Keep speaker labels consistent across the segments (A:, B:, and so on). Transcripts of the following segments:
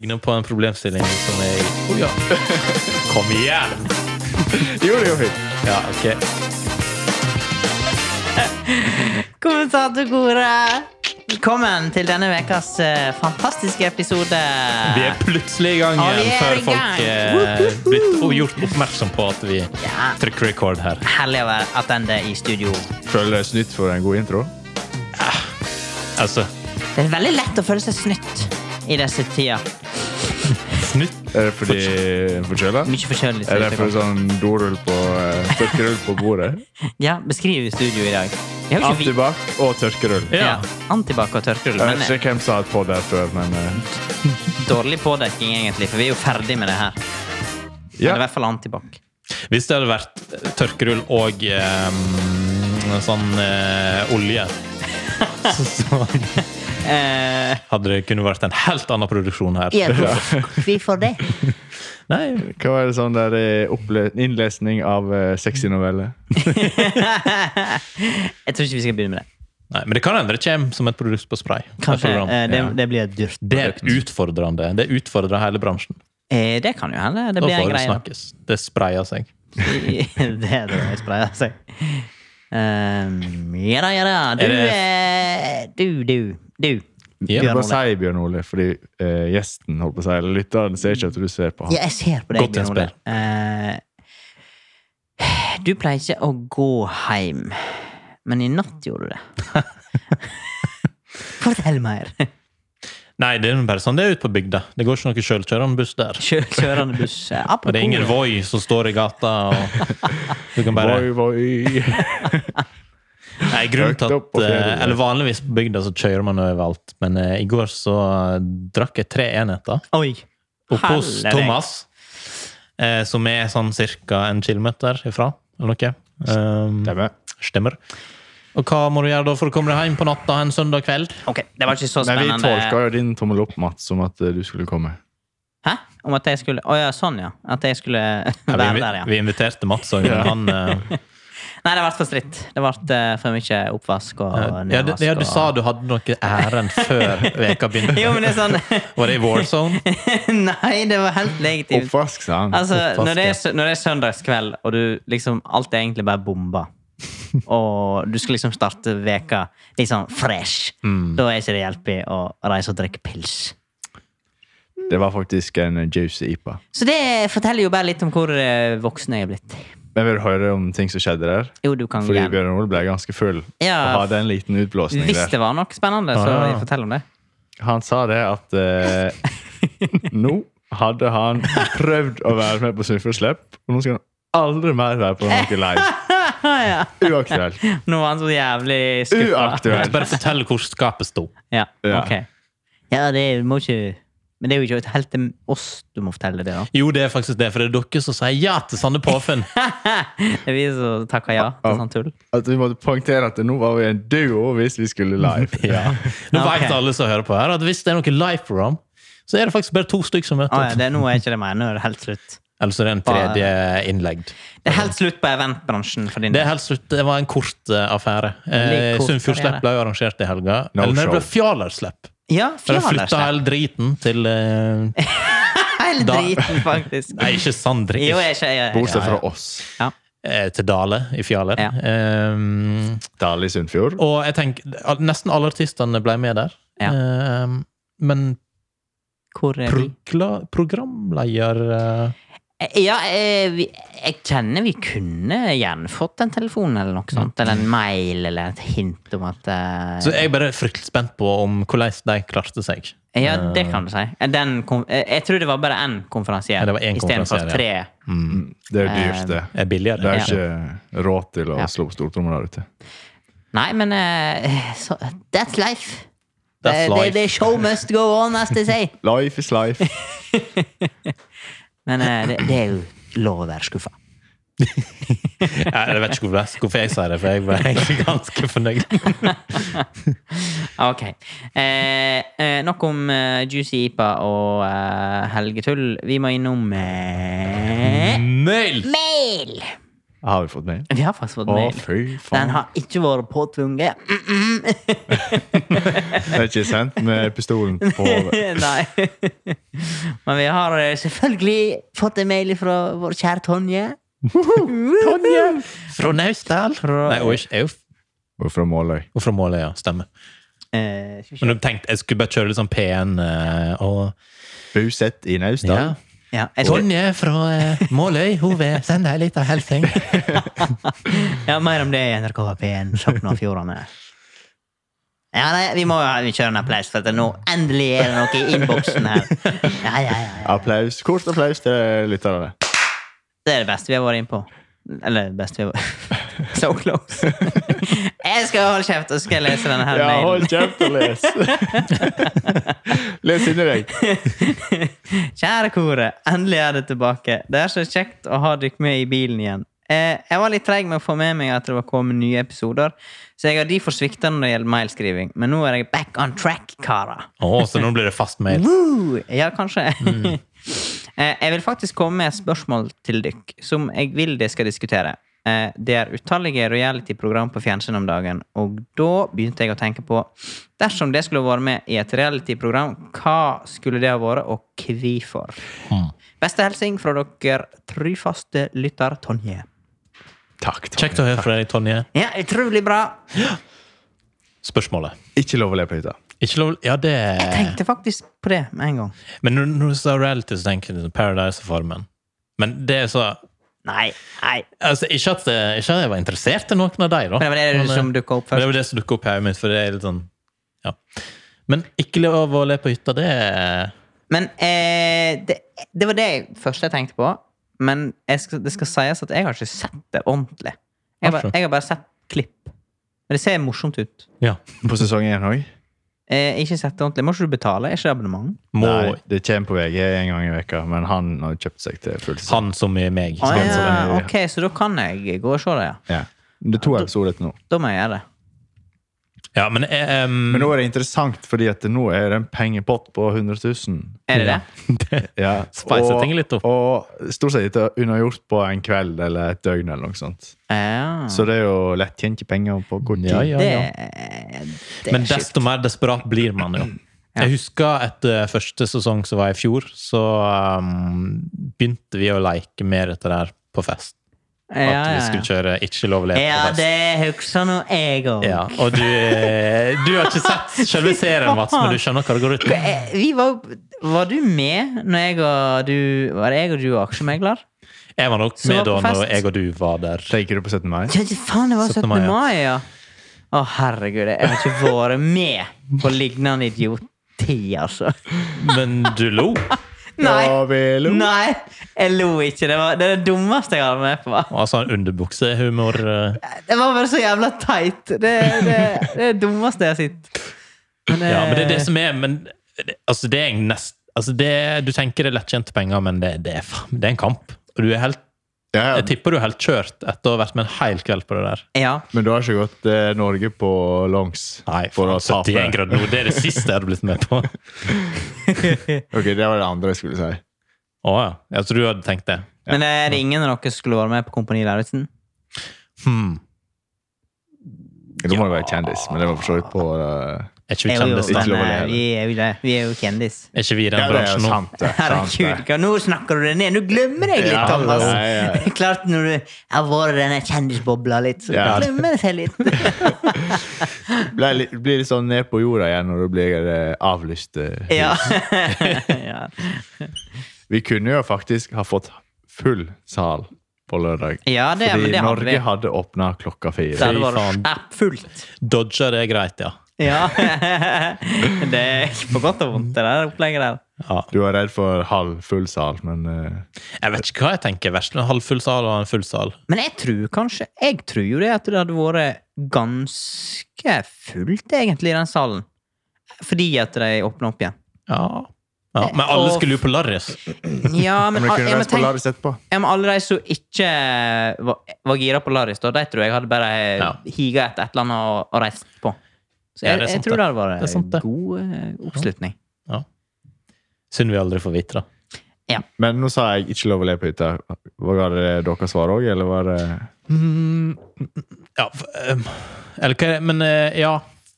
A: ligner på en problemstilling som er Å ja! Kom igjen!
B: Jo, det går fint.
A: Ja, ok.
C: Kommentatorkoret! Velkommen til denne ukas eh, fantastiske episode.
A: Vi er plutselig i gang
C: Ja, vi
A: igjen
C: er
A: før
C: i
A: folk
C: gang.
A: er blitt og gjort oppmerksom på at vi
C: Ja.
A: trykker record her.
C: Herlig å være attende i studio.
B: Føler det snytt for en god intro.
A: Altså,
C: Det er veldig lett å føle seg snytt i disse tider.
A: snytt.
B: Er det fordi en forkjøla?
C: Mye forkjølelse.
B: Er det for sånn dorull på eh, Tørkerull på bordet?
C: Ja, beskriv studio i dag. Vi har jo ikke vi-
B: Antibac og tørkerull.
A: Ja.
C: ja, Antibac og tørkerull.
B: Jeg
C: Men eh,
B: vet ikke hvem som har hatt på det før, men eh,
C: dårlig pådekking, egentlig, for vi er jo ferdig med det her.
B: ja.
C: Eller i hvert fall antibac.
A: Hvis det hadde vært tørkerull og eh, sånn eh, olje, så, så
C: Eh,
A: hadde det kunne vært en helt annen produksjon her.
C: hvorfor det?
A: Nei,
B: Hva var det sånn der eh, opple- innlesning av eh, sexy novelle?
C: Jeg tror ikke vi skal begynne med det.
A: Nei, men det kan hende det kommer som et produkt på spray. Et
C: Kanskje
A: program.
C: eh, det,
A: Ja.
C: det blir et dyrt
A: Det
C: produkt.
A: er utfordrende. Det utfordrer hele bransjen.
C: Eh, det kan jo hende. Det
A: Da
C: blir en
A: får det
C: greie. da.
A: snakkes. Det sprayer seg.
C: det er det jeg spleier å si. Um, ja da, ja da. Du,
A: Er det-
C: eh, du, du, du.
A: Ja.
C: Bjørn
B: Bare
C: Ole.
B: si Bjørn Ole, fordi eh, gjesten holdt på å si, eller lytteren ser ikke at du ser på han.
C: Ja, jeg ser på deg,
A: Godt
C: Bjørn Ole.
A: innspill.
C: Eh, du pleier ikke å gå hjem, men i natt gjorde du det. Fortell mer.
A: Nei, det er bare sånn det er ute på bygda. Det går ikke noe sjølkjørende buss der.
C: Kjø kjørende buss. Eh,
A: Og det er ingen
C: Apropos
A: Voi som står i gata. Og du kan bare...
B: Voi, voi.
A: Nei, grunnen til
B: Høyt opp på
A: at eh,
B: fjellet.
A: Eller vanligvis på bygda så kjører man overalt, men eh, i går så eh, drakk jeg tre enheter
C: Oi.
A: oppe hos
C: Helvete.
A: Thomas, eh, som er sånn ca. en kilometer ifra, eller noe. Um,
B: Stemmer.
A: Stemmer. Og hva må du gjøre da for å komme deg hjem på natta en søndag kveld?
C: Ok, det var ikke så
B: Nei, vi
C: spennende.
B: tolka jo din tommel opp, Mats, som at eh, du skulle komme.
C: Hæ? Om at jeg skulle Å ja, sånn, ja. At jeg skulle
A: Ja,
C: være
A: vi,
C: der, ja.
A: vi inviterte Mats òg, men
B: Ja.
A: han eh,
C: Nei, det ble for stritt. Det ble eh, for mye oppvask og
A: ja, du,
C: nedvask.
A: ja, du
C: og-
A: sa du hadde noe ærend før veka begynte.
C: Jo, men det er sånn
A: Var det i Warzone?
C: Nei, det var helt legitimt.
B: Oppvask, sa han.
C: Altså,
A: Oppvask,
C: når det, er,
A: ja.
C: sø- når det er søndagskveld, og du liksom alt er egentlig bare bomba, og du skal liksom starte veka litt sånn fresh,
A: Mm.
C: da er ikke det hjelpig å reise og drikke pils.
B: Det var faktisk en eh, juicy IPA.
C: Så det forteller jo bare litt om hvor eh, voksen jeg er blitt.
B: Men vil du høre om ting som skjedde der?
C: Jo, du kan
B: Fordi
C: gjerne.
B: Bjørn Ole ble ganske full og
C: Ja,
B: hadde en liten utblåsning
C: hvis
B: der.
C: det var noe spennende, så
A: Ah, ja.
C: fortell om det.
B: Han sa det at eh, nå hadde han prøvd å være med på Snufferslepp, og nå skal han aldri mer være på noe live.
C: ja.
B: Uaktuelt.
C: Nå var han så jævlig skuffa.
B: Uaktuelt.
A: Bare fortell hvor skapet sto.
C: Ja,
B: Ja.
C: ok. Ja, det må ikke Men det er jo ikke helt til oss du må fortelle det, da.
A: Jo, det er faktisk det, for det er dere som sier ja til sanne påfunn.
C: Det er vi som takker ja til sånn tull.
B: At vi måtte poengtere at nå var vi en duo hvis vi skulle live.
A: Ja. Nå
C: Ja, ok.
A: vet alle som hører på her, at hvis det er noe live program, så er det faktisk bare to stykker som møter
C: Ah, ja,
A: opp.
C: det, nå er ikke det mer. Nå er det helt slutt.
A: Eller så er det en tredje innlegg.
C: Det er helt slutt på eventbransjen for din
A: Det er
C: del.
A: helt slutt. Det var en kort eh, affære. Eh,
C: Litt kort
A: Sunnfjordslepp
C: affære.
A: ble jo arrangert i helga.
B: No
A: Eller nei, det
B: show.
A: ble Fjalerslett.
C: Ja,
A: For jeg flytta
C: fjallerslepp.
A: hele driten til eh,
C: Hele
A: Da-
C: driten, faktisk.
A: Nei, ikke Sandrik.
C: Jo, jeg er ikke jeg, jeg,
B: Bortsett fra oss.
A: eh, til Dale i Fjaler.
C: Ja.
A: Ehm,
B: Dale i Sunnfjord.
A: og jeg tenker, al- nesten alle artistene ble med der.
C: Ja.
A: Ehm, men
C: Hvor er vi?
A: progla, programleder eh,
C: Ja, eh, vi, jeg kjenner vi kunne gjerne fått en telefon eller noe sånt. Eller en mail eller et hint om at eh,
A: Så jeg er bare fryktelig spent på om hvordan de klarte seg.
C: Ja, det kan du si. Den kon eh, jeg tror det var bare én konferansier
A: Ja, det var én
C: istedenfor
A: konferansier,
C: tre.
B: Mm, Det er jo dyrt, det.
A: Er billigere.
B: Det er
A: Ja.
B: jo ikke råd til å
C: Um, Ja.
B: slå opp stortromma der ute.
C: Nei, men eh, så, That's life.
A: That's
C: the,
A: life.
C: The, the show must go on, as they say.
B: Life is life.
C: Men eh, det, det er jo lov å være skuffa.
A: Jeg jeg vet ikke hvorfor, jeg- hvorfor jeg sier det, for jeg var egentlig ganske fornøyd.
C: Ok. Eh, eh, nok om eh, Juicy Ipa og eh, helgetull. Vi må innom eh,
A: Mail!
C: mail!
B: Har vi fått mail?
C: Vi har faktisk fått
B: Å,
C: mail.
B: fy
C: Den
B: faen.
C: har ikke vært påtvunget.
B: Det er ikke sendt med pistolen på hodet.
C: Nei. Men vi har eh, selvfølgelig fått en mail fra vår kjære Tonje. Tonje!
A: Fra Naustdal.
C: Fra-
A: Nei, og ikke Euf.
B: Og fra Måløy.
A: Og fra Måløya. Stemmer.
C: Eh, skal vi se.
A: Men jeg tenkte, jeg skulle bare kjøre litt sånn pen eh, og
B: Bosatt i
A: ja.
B: Naustdal.
C: Ja, jeg skulle,
A: Tonje fra eh, Måløy, hun vil sende deg en liten hilsen.
C: ja, mer om det i NRK P1 Sogn og Fjordane. Ja, nei, vi må jo kjøre en applaus, for at det nå endelig er det noe i innboksen her. Ja, ja, ja, ja.
B: Applaus. Kort applaus til lytterne.
C: Det er det beste vi har vært innpå. Eller det beste vi har vært So close. jeg skal holde kjeft, og så skal jeg lese denne her
B: Ja,
C: mailen.
B: hold kjeft og les! les inni deg.
C: Kjære koret, endelig er det tilbake. Det er så kjekt å ha dere med i bilen igjen. Eh, jeg var litt treig med å få med meg at det var kommet nye episoder, så jeg har derfor svikta når det gjelder mailskriving, men nå er jeg back on track, karer.
A: Å, så nå blir det fast mail.
C: Woo! Ja, kanskje.
A: Mm.
C: Eh, jeg vil faktisk komme med et spørsmål til dykk, som jeg vil de skal diskutere. Eh, Det er utallige reality-program på fjernsyn om dagen, og da begynte jeg å tenke på Dersom det skulle vært med i et reality-program, hva skulle det ha vært, og hvorfor?
A: Mm.
C: Beste hilsing fra dere trufaste lytter Tonje.
B: Takk. takk.
A: Kjekt å høre fra deg, Tonje.
C: Ja, utrolig bra!
A: Spørsmålet.
B: Ikke lov å le på hytta.
A: Ikke lov Ja, det
C: Jeg tenkte faktisk på det med en gang.
A: Men når, når du sa reality, så tenker jeg liksom Paradise-formen. Men det er så
C: Nei, nei.
A: altså, ikke, at, det- ikke at jeg var interessert i noen av dem, da.
C: Men det var det
A: Men, eh,
C: som dukka opp
A: men det
C: først.
A: var det som dukket opp i hodet mitt, for det er litt sånn Ja. Men ikke lov å le på hytta, det er
C: Men eh, det, det var det første jeg tenkte på. Men jeg skal, det skal sies at jeg har ikke sett det ordentlig. Jeg, har bare-
A: Hvorfor?
C: jeg har bare sett klipp. Men det ser morsomt ut.
A: Ja.
B: På sesong én òg?
C: Eh, ikke sett det ordentlig. Må ikke du betale? Er ikke det abonnement?
B: Nei,
A: Må
B: det kommer på VG en gang i veka, men han har kjøpt seg til full sesong.
A: han som er meg.
C: Å,
A: sånn som
C: Ah, ja.
A: en-
C: Ok, så da kan jeg gå og se det, ja.
B: Ja. Det er to episoder til nå.
C: Da må jeg gjøre det.
A: ja, men jeg, em,
B: Men nå er det interessant, fordi at nå er det en pengepott på 100 000.
C: Er det det?
B: Ja.
A: Spice ting litt opp.
B: og stort sett ikke unnagjort på en kveld eller et døgn. eller noe sånt.
C: Ja.
B: Så det er jo lettjente penger på kort tid.
A: ja, ja,
C: Det,
A: ja.
C: det
A: Men
C: er sjukt.
A: desto mer desperat blir man jo. Jeg husker etter første sesong som var i fjor, så em, begynte vi å leke mer etter det her på fest.
C: Ja,
A: At
C: ja,
A: vi
C: ja.
A: skulle kjøre Ikke lov å le på
C: Ja,
A: fest.
C: det husker nå jeg òg.
A: Ja, og du, eh, du har ikke sett selve serien, Mats, men du skjønner hva det går ut på.
C: Eh, Vi var, jo- var du med når jeg og du Var det jeg og du og aksjemegler?
A: Jeg var nok
C: Så
A: med
C: var
A: da
C: på
A: når
C: fest.
A: jeg og du var der.
B: Tenker du på 17. mai?
C: Ja, det- faen, det var
A: 17.
C: 17.
A: mai, ja.
C: mai, ja. Å, herregud. Jeg har ikke vært med på lignende idioti, altså.
A: Men du lo.
C: Nei.
B: Ja, vi lo.
C: Nei, jeg lo ikke. Det var det, er det dummeste jeg har vært med på.
A: Altså underbuksehumor. eh.
C: Det var bare så jævla teit. Det, det, det er det dummeste jeg har sett. Men,
A: Ja, men det er det
C: eh,
A: som er men, altså, det er en nest, altså, det, Du tenker det er lettkjente penger, men det, det, er, faen- det er en kamp. Og du er helt,
B: Ja,
A: jeg tipper du er helt kjørt etter å ha vært med en hel kveld på det der.
C: Ja.
B: men da har ikke gått eh, Norge på langs
A: Nei,
B: for å
A: faen,
B: tape.
A: 71 grader nord. Det er det siste jeg hadde blitt med på.
B: Ok, det var det andre jeg skulle si.
A: Å ja. Jeg tror du hadde tenkt det.
C: Men eh, er det ingen av dere som skulle vært med på Kompani Lauritzen?
A: Hmm.
B: Da må det være kjendis, men det var for så vidt på eh,
A: Er ikke vi kjendiser?
B: Ikke lov å le heller.
C: Jeg er jo- men, eh, Vi er jo det. Vi er jo kjendis.
A: Er ikke vi i den
B: Ja, det er
A: bransjen nå?
B: sant, det. Sant,
C: Herregud, hva- nå snakker du det ned! Nå glemmer jeg litt,
B: Ja,
C: Thomas.
B: ja, ja.
C: Det er Klart når du har vært i denne kjendisbobla litt, så
B: Ja.
C: glemmer det seg litt.
B: det. Ble litt- Blir litt sånn ned på jorda igjen når du blir eh, avlyst. eh.
C: Ja. ja.
B: Vi kunne jo faktisk ha fått full sal på lørdag.
C: Ja, det- men
B: fordi
C: det hadde
B: Norge
C: vi.
B: hadde åpna klokka
C: Det
B: fire.
A: Fy
C: hadde
A: faen.
C: vært stappfullt.
A: Dodger det er greit, ja.
C: Ja. Det er på godt og vondt, det der opplegget der.
A: ja.
B: Du var redd for halv full sal, men eh,
A: Jeg vet ikke hva jeg tenker. Verst med en halvfull sal og en full sal.
C: Men jeg tror kanskje Jeg tror jo det at det hadde vært ganske fullt, egentlig, i den salen. Fordi at de åpna opp igjen.
A: Ja. ja. Men alle skulle jo på Larris.
C: Ja, men,
B: men vi kunne
C: ja, men
B: reist på
C: tenk
B: Laris etterpå.
C: Ja, men alle de som ikke var, var gira på Laris, da, de tror jeg hadde bare
A: Ja.
C: higa etter et eller annet og, og reist på. Så
A: Ja,
C: jeg,
A: det er
C: jeg
A: sant
C: tror
A: det.
C: det hadde
A: Det er sant
C: vært
A: det.
C: god eh, oppslutning.
A: Synd vi aldri får vite det.
C: Ja.
B: Men nå sa jeg ikke lov å le på hytta. Var det deres svar òg, eller var det
A: Mm, ja f- ehm, Eller hva er det Men eh, ja.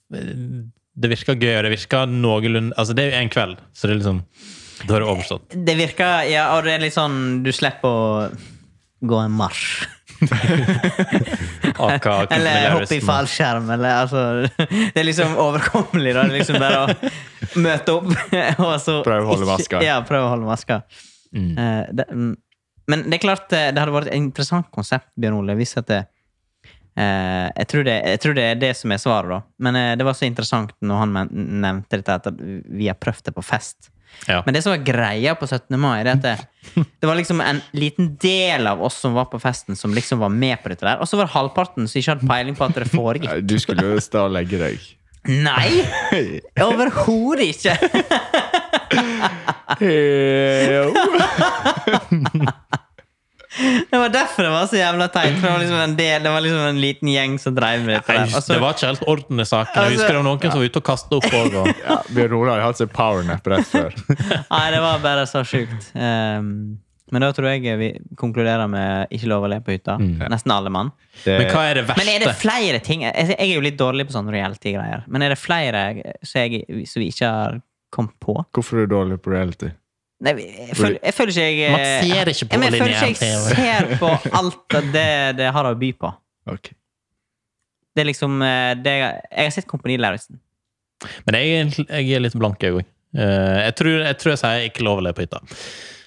A: Det virker gøy, og det virker noenlunde Altså, det er jo en kveld, så det er liksom Da er det overstått.
C: Det virker Ja, og det er litt sånn Du slipper å gå en marsj.
A: AK,
C: Eller hoppe i fallskjerm, eller altså Det er liksom overkommelig, da. Det er liksom bare å møte opp og så
B: Prøve å holde
C: ikke-
B: maska.
C: Ja, prøve å holde maska.
A: Mm.
C: Eh, det, mm. men det er klart eh, det hadde vært et interessant konsept, Bjørn Ole, hvis at det eh, jeg, tror det, jeg tror det er det som er svaret, da. Men eh, det var så interessant når han men- nevnte dette at vi har prøvd det på fest.
A: Ja.
C: Men det som var greia på 17. mai, det er at det, det var liksom en liten del av oss som var på festen, som liksom var med på dette der. Og så var det halvparten som ikke hadde peiling på at det foregikk.
B: Nei, Du skulle jo stå og legge deg.
C: Nei! Overhodet ikke!
B: Jo.
C: Det var derfor det var så jævla teit. For det var liksom en del, det var liksom en liten gjeng som drev med dette
A: Nei,
C: der. Og så-
A: det var ikke helt orden i saken. Jeg
C: Altså-
A: husker det var noen som var ute og kasta opp òg. Og...
B: Ja, Bjørn Ola har jo hatt seg powernap rett før.
C: Nei, det var bare så sjukt. Ehm, men da tror jeg vi konkluderer med ikke lov å le på hytta.
A: Mm.
C: Nesten alle mann.
B: Det,
A: Men hva er det
C: Men er det
A: verste?
C: flere ting Jeg jeg er jo litt dårlig på sånne reality-greier. Men er det flere som jeg- som vi ikke har kommet på?
B: hvorfor er du dårlig på reality?
C: Nei, jeg føler, jeg føler ikke jeg
A: Man ser ikke på
C: Ja, men Jeg føler
A: lineær
C: ikke jeg ser på alt av det det har å by på.
B: Ok.
C: Det er liksom eh, det, Jeg jeg har sett Kompani Lauritzen.
A: Men jeg, er egentlig- jeg er litt blank, jeg òg. jeg, tror, jeg tror jeg sier ikke lov å le på hytta.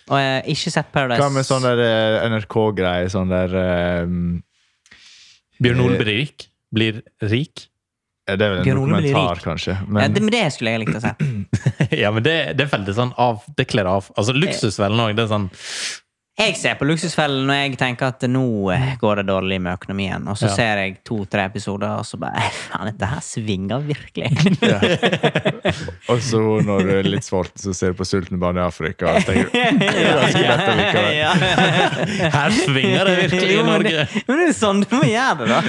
C: Og jeg har ikke sett Paradise.
B: Hva med sånn der eh, NRK-greie? Sånn der eh,
C: Eh.
A: Bjørn Ole blir rik. Blir rik.
B: Det er vel en
C: Bjørn Ole blir
B: dokumentar,
C: rik.
B: kanskje.
C: ja,
B: Men
C: det, men det skulle jeg likt å se.
A: ja, men det, det er veldig sånn av Det kler av. Altså luksusvellen òg. Det er sånn
C: Jeg ser på Luksusfellen når jeg tenker at nå
B: Mm.
C: eh, går det dårlig med økonomien. Og så
A: Ja.
C: ser jeg to-tre episoder, og så bare Faen, dette her svinger virkelig.
B: Og så når du er litt sulten, så ser du på Sulten barn i Afrika. Og tenker, du, det er ganske lett allikevel.
C: Ja.
A: Her svinger det virkelig
C: Jo,
A: i
C: men det-
A: Norge!
C: Men det er sånn du må gjøre det, da.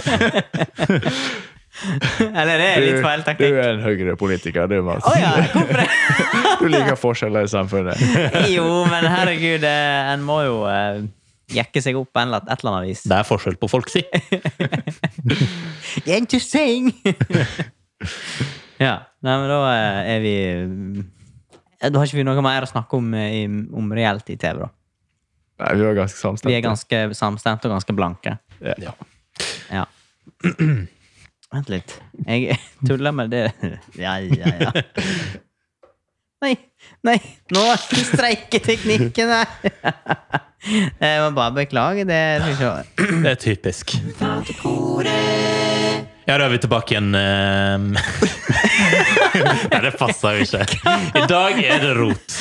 C: Eller det er litt feil
B: du, du
C: taktikk.
B: er en høyrepolitiker, du, Mats.
C: Å ja, hvorfor det?
B: Du liker forskjeller i samfunnet.
C: Jo, men herregud, eh, en må jo eh, jekke seg opp på en eller annen- et eller annet vis.
A: Det er forskjell på folk, si.
C: Interesting! ja. Nei, men da eh, er vi eh, Da har ikke vi noe mer å snakke om eh, i, om reality-TV, da.
B: Nei, vi var ganske samstemte.
C: Vi er ganske samstemte og ganske blanke.
A: Ja.
C: Ja. Vent litt. Jeg tuller med det Ja, ja, ja. Nei, nei, nå streiker teknikken her! Jeg må bare beklage det. Skal vi se.
A: Det er typisk. Ja, da er vi tilbake igjen. ehm. Nei, det passer jo ikke. I dag er det rot.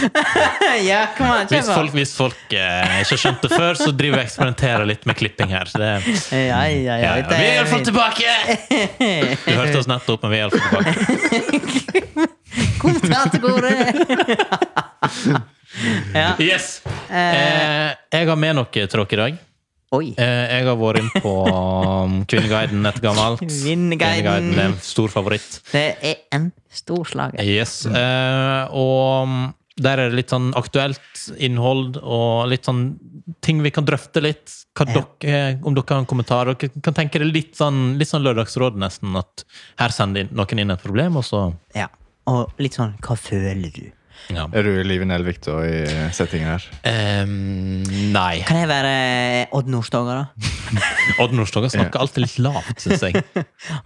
C: Ja, kom an, kjør
A: Hvis
C: på.
A: folk, hvis folk eh, ikke har skjønt det før, så driver jeg og eksperimenterer litt med klipping her. Så det,
C: Ja, ja,
A: ja,
C: ja.
A: ja. Vi er iallfall tilbake! Du hørte oss nettopp, men vi er iallfall tilbake.
C: Kom her til gode! ja.
A: Yes! Eh, jeg har med noe til dere i dag.
C: Oi.
A: Eh, jeg har vært inn på um, Kvinneguiden etter gammelt.
C: Kvinneguiden.
A: er en stor favoritt.
C: Det er en stor slager.
A: Yes. eh, og mm, der er det litt sånn aktuelt innhold og litt sånn ting vi kan drøfte litt. Hva
C: Ja.
A: dere, om dere har en kommentar. Dere kan tenke det litt sånn, litt sånn Lørdagsråd, nesten. At her sender inn- noen inn et problem, og så
C: Ja. Og litt sånn Hva føler du?
A: ja.
B: Er du Live Nelvik da i eh, settingen her?
A: Nei.
C: Kan jeg være eh, Odd Nordstoga, da?
A: Odd Nordstoga snakker alltid litt lavt, syns jeg.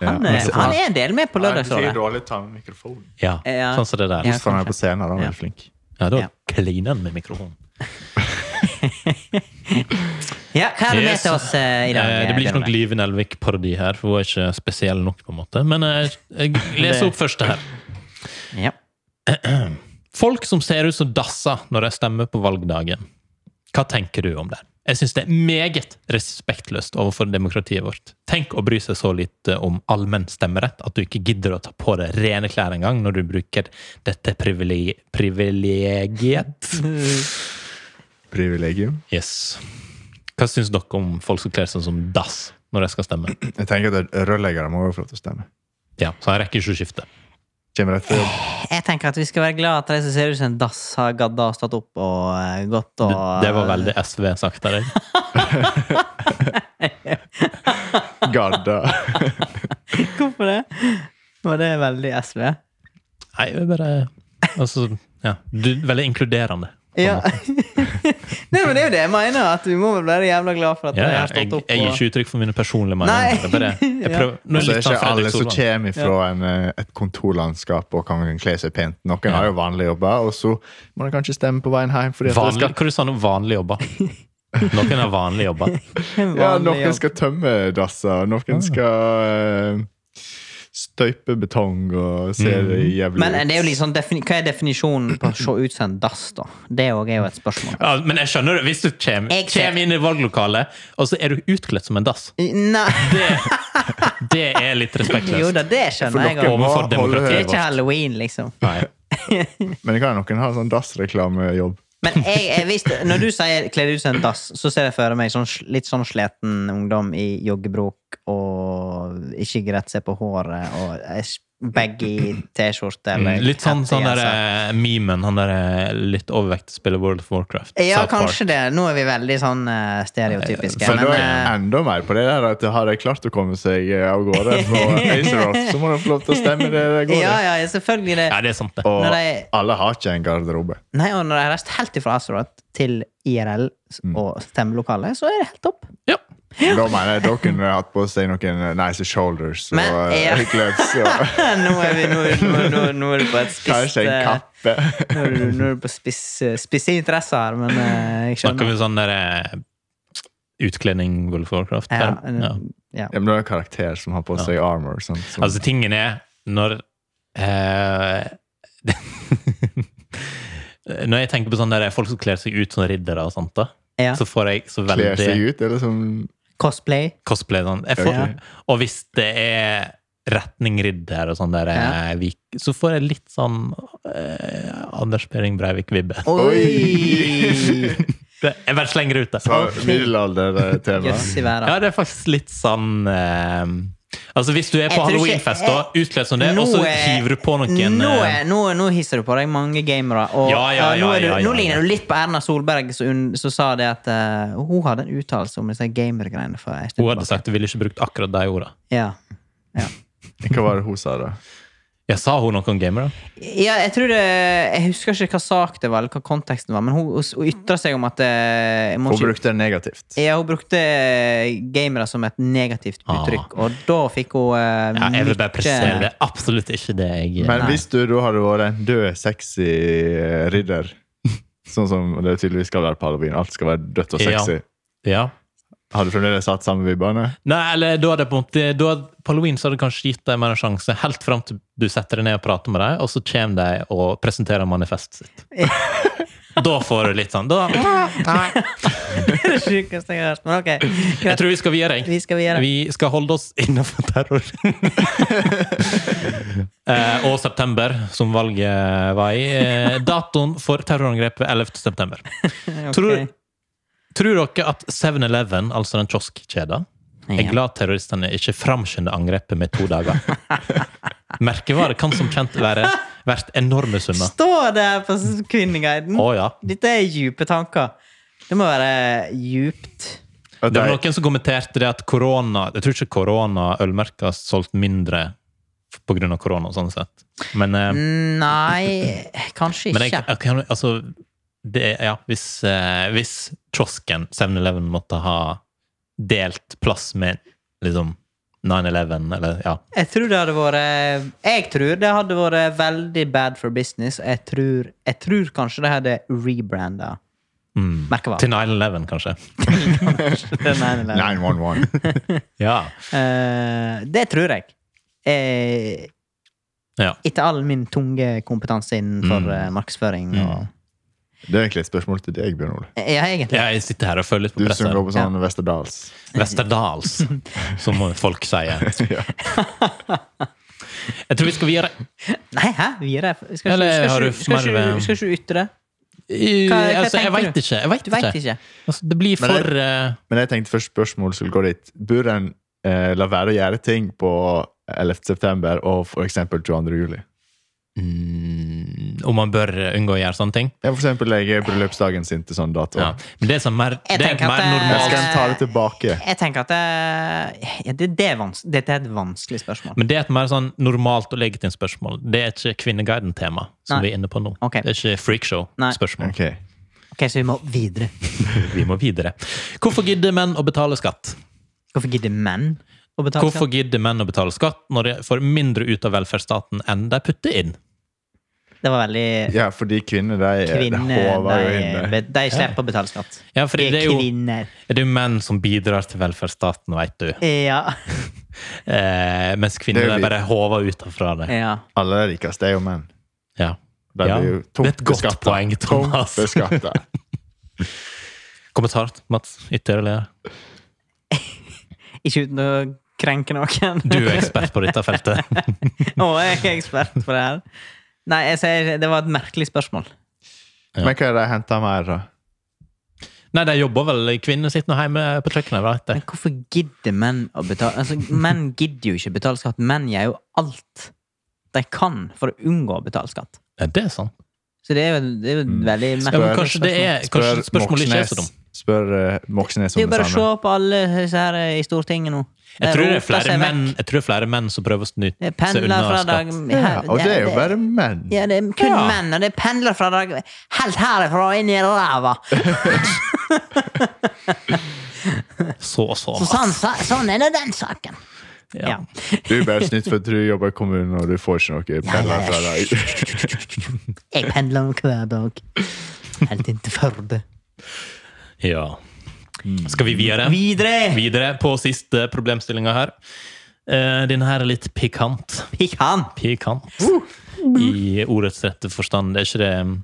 C: Han, eh, han er en del med på Lørdagsrådet.
B: dårlig ta med mikrofonen.
A: Ja,
C: Ja.
A: Sånn som det der.
C: Ja.
B: Hvis han er på scenen, da han er han flink.
A: Ja, da
C: Ja.
A: kliner han med mikrofonen.
C: Ja, hva er det med
A: Yes.
C: til oss eh, i dag?
A: Eh, Det blir ikke
C: Bjørn
A: noe Live Nelvik-parodi her, for hun er ikke spesiell nok. på en måte. Men eh, jeg leser opp første her.
C: Ole? Ja.
A: Folk som ser ut som dasser når de stemmer på valgdagen. Hva tenker du om det? Jeg syns det er meget respektløst overfor demokratiet vårt. Tenk å bry seg så lite om allmenn stemmerett at du ikke gidder å ta på deg rene klær engang når du bruker dette privile- privilegiet.
B: Privilegium.
A: Yes. Hva syns dere om folk som kler seg som dass når de skal stemme?
B: Jeg tenker at rørleggere må jo få lov til å stemme.
A: Ja, Så jeg rekker ikke å skifte.
B: Kommer rett fra jobb.
C: Jeg tenker at vi skal være glad at de som ser ut som en dass, har gadda og stått opp og eh, gått og
A: Det, det var veldig SV sagt av deg.
B: Gadda.
C: Hvorfor det? Var det veldig SV?
A: Nei, det er bare Altså, ja. Du, veldig inkluderende. på en
C: Ja.
A: måte.
C: Nei, men det er jo det jeg mener, at vi må vel være jævla glad for
A: Ja,
C: at de
A: ja, jeg,
C: har stått opp
A: jeg gir
C: og
A: ikke uttrykk for mine personlige
C: Nei.
A: meninger. Det er Bare, jeg
C: Ja.
A: prøver, nå
B: Og
A: er
B: så
A: det
B: Altså, er
A: litt sånn
B: ikke alle
A: Fredrik
B: som
A: Solvang.
B: kommer fra en, eh, et kontorlandskap og kan kle seg pent. Noen har jo vanlige jobber, og så må de kanskje stemme på veien hjem. Fordi at det
A: Vanlig,
B: skal,
A: hva du sa du? Vanlige jobber? Noen har vanlige jobber.
C: en vanlig
B: ja, noen
C: jobb. Ah.
B: skal tømme dasser, og noen skal eh, støype betong og se det jævlig
C: Men det er jo liksom, defini- hva er definisjonen på å se ut som en dass, da? Det òg er jo et spørsmål.
A: Ja, men jeg skjønner det. Hvis du kommer,
C: Jeg ser-
A: kommer inn i valglokalet, og så er du utkledd som en dass
C: Nei,
A: Det, det er litt
C: jo
A: respektløst.
C: da, det skjønner jeg.
B: dere
C: også.
B: må
A: Overfor
B: holde
A: demokratiet
C: Det er
B: høyde.
A: vårt.
C: ikke halloween, liksom.
A: Nei.
B: Men det kan noen ha sånn dassreklamejobb.
C: Men jeg, jeg visste, når du sier 'kle deg ut som en dass', så ser jeg for meg sånn, sl- litt sånn sliten ungdom i joggebrok og ikke greit seg på håret og ei s- baggy T-skjorte eller
A: Litt sånn, sånn der
C: hettegenser.
A: eh, memen. Han der eh, litt overvektig spiller World of Warcraft.
C: Ja,
A: eh, South Park.
C: kanskje det. Nå er vi veldig sånn eh, stereotypiske.
B: For da er
C: Men, eh,
B: jeg enda mer på det der at har de klart å komme seg eh, av gårde på Azeroth, så må de få lov til å stemme det der
C: eh,
B: går.
C: ja, ja, selvfølgelig det.
A: Ja, det er sant, det.
B: Og
C: Når de-
B: alle har ikke en garderobe.
C: Nei, og når de har reist helt ifra Azeroth til IRL og stemmelokalet, så er det helt topp.
A: Ja.
B: Da mener jeg da kunne de hatt på seg noen eh, nice shoulders og
C: Men, ja.
B: eh, gloves og
C: nå, er vi, nå, nå, nå, nå er du på et spisst
B: kanskje en
C: eh,
B: kappe.
C: Nå er du, nå er du på spiss, spisse interesser her, men eh, jeg
A: Snakker
C: skjønner.
A: vi sånn der eh, utkledning World of Warcraft?
C: Ja, eh,
A: der? Ja.
C: ja.
B: Ja, men det er en karakter som har på seg armor. Sånn, som-
A: Altså, tingen er når eh, Når jeg tenker på sånn der folk som kler seg ut som riddere og sånt, da,
C: Ja.
A: så får jeg så
B: kler seg
A: veldig
B: ut, eller som
C: Cosplay.
A: cosplay sånn. Jeg får,
B: Ok.
A: Og hvis det er retning ridder og sånn der,
C: Ja.
A: eh, vik, så får jeg litt sånn eh, Anders Behring Breivik-vibbe.
C: Oi!
A: Det- Jeg bare slenger ut det.
B: så middelalder-tema.
C: Jøss i verden.
A: Ja, det er faktisk litt sånn eh, Altså, hvis du er på
C: Jeg tror ikke-
A: halloweenfest, da, utkledd som det, og så
C: Nå er-
A: hiver du på noen
C: nå,
A: eh,
C: er, nå, nå hisser du på deg mange gamere. Og,
A: Ja, ja,
C: og nå, er du,
A: ja, ja, ja,
C: nå ligner
A: ja.
C: du litt på Erna Solberg, som sa det at eh, hun hadde en uttalelse om disse gamergreiene. for en stund
A: Hun hadde
C: tilbake.
A: sagt du ville ikke brukt akkurat de orda.
C: Ja.
B: Hva var det hun sa, da?
A: Jeg sa hun noe om gamer, da?
C: Ja, jeg tror det Jeg husker ikke hva sak det var, eller hva konteksten var, men hun, hun ytra seg om at eh, jeg må
B: Hun
C: ikke-
B: brukte det negativt.
C: Ja, hun brukte eh, gamere som et negativt
A: Ah.
C: uttrykk, og da fikk hun eh,
A: Ja, jeg vil bare
C: mye-
A: presisere det. er Absolutt ikke det jeg
B: Men
C: Nei.
B: hvis du da hadde vært en død, sexy eh, ridder Sånn som det tydeligvis skal være på halloween. Alt skal være dødt og
A: Ja.
B: sexy.
A: Ja.
B: Har du fremdeles hatt samme vibbene?
A: Nei, eller da hadde jeg på en måte da, På halloween så hadde jeg kanskje gitt dem en sjanse, helt fram til du setter deg ned og prater med dem, og så kommer de og presenterer manifestet sitt. da får du litt sånn da, Nei.
C: det sjukeste jeg har hørt. Men ok,
A: Jeg
C: greit.
A: tror vi skal videre.
C: Vi skal videre.
A: Vi skal holde oss innenfor terror. eh, og september, som valget var i. Eh, datoen for terrorangrepet 11. september.
C: Ok.
A: Tror, tror dere at 7-Eleven, altså den kioskkjeden, er
C: Ja.
A: glad terroristene ikke framskynder angrepet med to dager? Merkevarer kan som kjent være verdt enorme summer.
C: Står det her på s- Kvinneguiden?
A: Å ja.
C: Dette er djupe tanker. Det må være djupt.
B: At
A: Det var
B: de,
A: noen som kommenterte det at korona Jeg tror ikke korona-ølmerker har solgt mindre pga. korona, sånn sett. Men, eh,
C: Nei, kanskje
A: men jeg,
C: Mm, ikke.
A: jeg kan Altså, det er Ja, hvis, eh, hvis kiosken 7-Eleven måtte ha delt plass med liksom 9-11, eller ja
C: Jeg tror det hadde vært Jeg tror det hadde vært veldig bad for business. Jeg tror, jeg tror kanskje det hadde rebranda
A: mm, Til 9-11,
C: merkevaren.
A: kanskje.
C: Den ene eller andre.
B: 911.
A: Ja.
C: Eh, det tror jeg. Eh,
A: ja.
C: etter all min tunge kompetanse innenfor
A: Mm.
C: eh, markedsføring og
B: Det er egentlig et spørsmål til deg, Bjørn Ole.
C: Ja, egentlig.
A: Jeg sitter her og føler litt
B: Du
A: på
B: som
A: presset.
B: går på sånn Westerdals.
A: Westerdals, som folk sier.
B: ja.
A: Jeg tror vi skal videre.
C: Nei, hæ? Vi er der. Skal
A: Eller
C: ikke-
A: har
C: skal
A: du
C: ikke- skal
A: mer-
C: ikke- skal ikke du ytre det?
A: I-
C: Hva- hva
A: altså, jeg
C: tenker
A: veit
C: du?
A: ikke. Jeg vet
C: Du veit
A: ikke.
C: ikke.
A: Altså, det blir
B: Men
A: for eh,
B: Men jeg tenkte først spørsmål skulle gå dit. Bør en eh, la være å gjøre ting på 11. september og for eksempel 22. juli?
A: mm, om man bør unngå å gjøre sånne ting.
B: Jeg for eksempel legger bryllupsdagen sin til sånn dato.
A: Ja. Men det som er mer,
C: Jeg
A: det er
C: tenker
A: mer
C: at eh, det-
B: Jeg
A: normalt.
B: skal ta det tilbake.
C: Jeg tenker at det, ja, det, det er vans Dette er et vanskelig spørsmål.
A: Men det er et mer sånn normalt og legitimt spørsmål. Det er ikke Kvinneguiden-tema som
C: Nei.
A: vi er inne på nå.
C: Ok.
A: Det er ikke
C: Nei.
A: freakshow-spørsmål.
B: Ok.
C: Ok, Så vi må videre.
A: Vi må videre. Hvorfor gidder menn å betale skatt?
C: Hvorfor gidder menn å betale
A: Hvorfor
C: skatt?
A: gidder menn å betale skatt når de får mindre ut av velferdsstaten enn de putter inn?
C: Det var veldig
B: Ja, fordi kvinner, de
C: Kvinner
B: håver jo inn
C: de,
B: det.
C: de slipper å betale skatt.
A: Ja, fordi
C: De
A: det
C: er
A: er jo
C: kvinner.
A: det er jo menn som bidrar til velferdsstaten, veit du.
C: Ja.
A: Eh, mens kvinner
B: Det er
A: de
B: vi.
A: bare håver ut fra det.
C: ja.
B: Alle de rikeste er jo menn.
A: Ja.
B: De
A: Ja,
B: blir jo
A: det er et
B: tungt
A: godt
B: beskattet.
A: poeng, Thomas.
B: Tungt beskattet.
A: Kommentar, Mats? Ytterligere?
C: Ikke uten å krenke noen.
A: Du er ekspert på dette feltet.
C: Og jeg er ekspert på det her. Nei, jeg sier det var et merkelig spørsmål.
A: Ja.
B: Men hva er det de henter mer, da?
A: Nei, de jobber vel. Kvinner sitter nå hjemme på kjøkkenet. Vet
C: Men
A: du.
C: hvorfor gidder menn å betale Altså, menn gidder jo ikke betale skatt. Menn gjør jo alt de kan for å unngå å betale skatt.
A: Ja, det er sant.
C: Så det er jo, det er jo
A: Mm.
C: et veldig
A: Ja, men
C: merkelig.
A: kanskje det er kanskje spørsmålet ikke er så
B: Moxnes-
A: dumt.
B: Spør eh, Moxnes
C: Det
B: om
C: er jo
B: det
C: bare å se
B: samme.
C: på alle disse her eh, i Stortinget nå.
A: Jeg tror, det er
C: Eh, roter
A: flere
C: seg vekk. Eh,
A: menn, jeg tror det er flere menn som prøver å
C: Det er
A: snyte seg unna
C: pendlerfradrag.
A: skatt.
B: Ja, og det er jo bare menn.
C: Ja, det er kun
A: Ja.
C: menn, og det er pendlerfradrag helt herifra og inn i ræva.
A: Så, så,
C: Så sånn, så, sånn er det den saken.
A: Ja.
B: Du er bare snytt for at du jobber i kommunen, og du får ikke noe penger fra deg.
C: Jeg pendler hver dag. Helt inn til Førde.
A: ja. Skal vi videre?
C: Videre!
A: Videre på siste problemstillinga her. Eh, Denne her er litt pikant.
C: Pikk han!
A: Pikant. I ordets rette forstand. Det er ikke det um,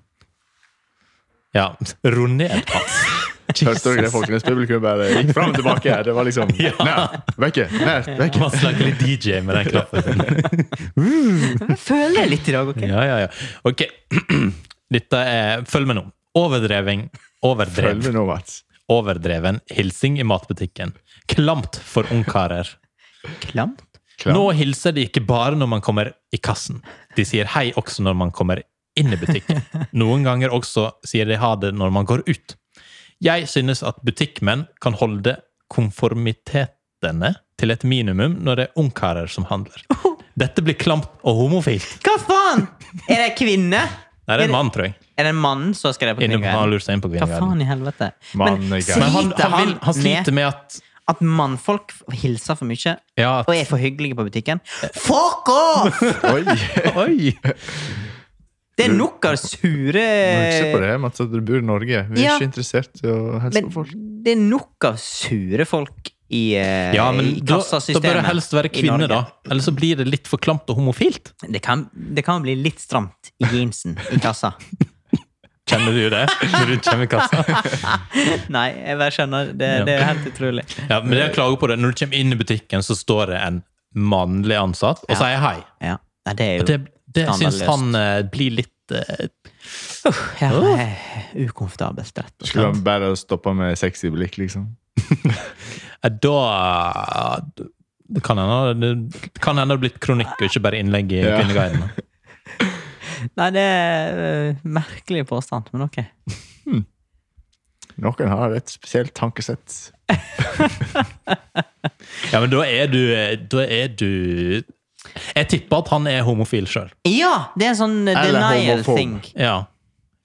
A: Ja, ro ned, Mats.
B: Hørte dere det, folkens? Publikum bare gikk fram og tilbake. Det var liksom
A: Ja.
B: Nei, vekke! Nært, vekke!
A: Mats lager litt DJ med den knappen sin.
C: Jeg føler det litt i dag, ok?
A: Ja, ja, ja. Ok. Dette er Følg med nå. Overdreving.
B: Følg
A: Overdrev.
B: med nå, Mats.
A: Overdreven hilsing i matbutikken. Klamt for ungkarer.
C: Klamt.
B: Klamt.
A: Nå hilser de ikke bare når man kommer i kassen. De sier hei også når man kommer inn i butikken. Noen ganger også sier de ha det når man går ut. Jeg synes at butikkmenn kan holde konformitetene til et minimum når det er ungkarer som handler. Dette blir klamt og homofilt.
C: Hva faen?! Er det en kvinne?
A: Nei, det er en mann, tror jeg.
C: Er det en mann som skrev på
A: Inne på, han
C: kvinneguiden?
A: lurer seg inn på
C: Hva
A: kvinneguiden.
C: faen i helvete?
B: Mann er
C: Men
B: gæren.
A: Men han,
C: sliter
A: han, vil, han
C: han
A: sliter
C: med
A: med at
C: at mannfolk hilser for mye?
A: Ja,
C: Og er for hyggelige på butikken? Fuck off!
B: Oi!
A: Oi!
C: Det er nok av sure
B: Husk på det, Mats, at du bor i Norge. Vi er
C: Ja.
B: ikke interessert i å hilse
C: Men
B: på folk.
C: det er nok av sure folk i, eh,
A: Ja,
C: i
A: men da, da
C: kassasystemet.
A: bør det helst være
C: i
A: kvinne,
C: Norge.
A: da. Ellers så blir det litt for klamt og homofilt.
C: Det kan, det kan bli litt stramt i jeansen i kassa.
A: Kjenner du det? Når du kommer i kassa?
C: Nei, jeg bare skjønner. Det,
A: Ja.
C: det er helt utrolig.
A: Ja, men jeg klager på det. Når du kommer inn i butikken, så står det en mannlig ansatt og
C: Ja.
A: sier hei.
C: Ja. Nei, det er jo
A: Og det, det syns
C: Skandaløst.
A: han eh, blir litt eh,
C: ja, det er ukomfortabelt, rett og slett.
B: Skulle han bare stoppa med sexy blikk, liksom?
A: Eh, Da det kan hende det kan hende det har blitt kronikk og ikke bare innlegg i
B: Ja.
A: Kvinneguiden.
C: Nei, det er eh, merkelig påstand, men ok.
B: Noen har et spesielt tankesett.
A: Ja, men da er du eh, Da er du Jeg tipper at han er homofil sjøl.
C: Ja! Det er en sånn eh,
B: Eller
C: denial
B: homofob.
C: thing.
A: Ja.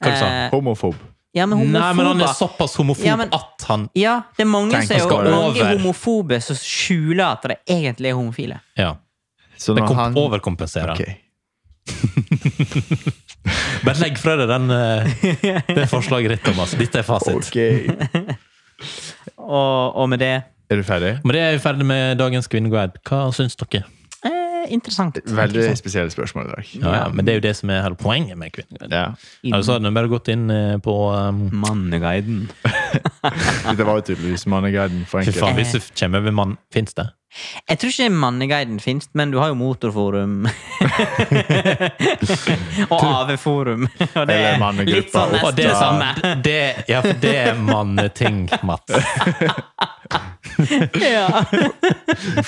A: Hva du sa
C: Eh,
B: Altså, Homofob.
C: Ja, men
A: Nei, men han er
C: homofober
A: såpass homofob
C: Ja, men-
A: at han
C: Ja, det er mange,
B: Tenk
C: som er,
A: på
C: jo- mange
A: over.
C: homofobe som skjuler at de egentlig er homofile.
A: ja,
B: Så
A: det
B: når
A: kom,
B: han
A: overkompenserer.
B: Ok.
A: Bare legg fra deg den, eh, det forslaget ditt, Thomas. Dette er fasit.
B: ok.
C: Og, og med det
B: Er du ferdig?
A: Men det er vi ferdig med dagens Kvinneguide. Hva syns dere?
C: eh, Interessant.
B: Veldig spesielle spørsmål i dag.
A: liksom. Ja, ja, men det er jo det som er hele poenget med Kvinneguide.
B: Ja.
A: Altså, hadde vi bare gått inn eh, på um,
C: Mm. Manneguiden.
B: Det var jo tydeligvis Manneguiden for
A: Fy
B: enkelt.
A: faen, hvis du kommer over mann Fins det?
C: Jeg tror ikke Manneguiden fins, men du har jo Motorforum. og AV-forum. Og det
B: Eller
C: er
B: mannegruppa.
C: litt sånn
A: Og det er
C: nesten det samme.
A: sant. Det, ja, for det er manneting, Mats.
C: Ja.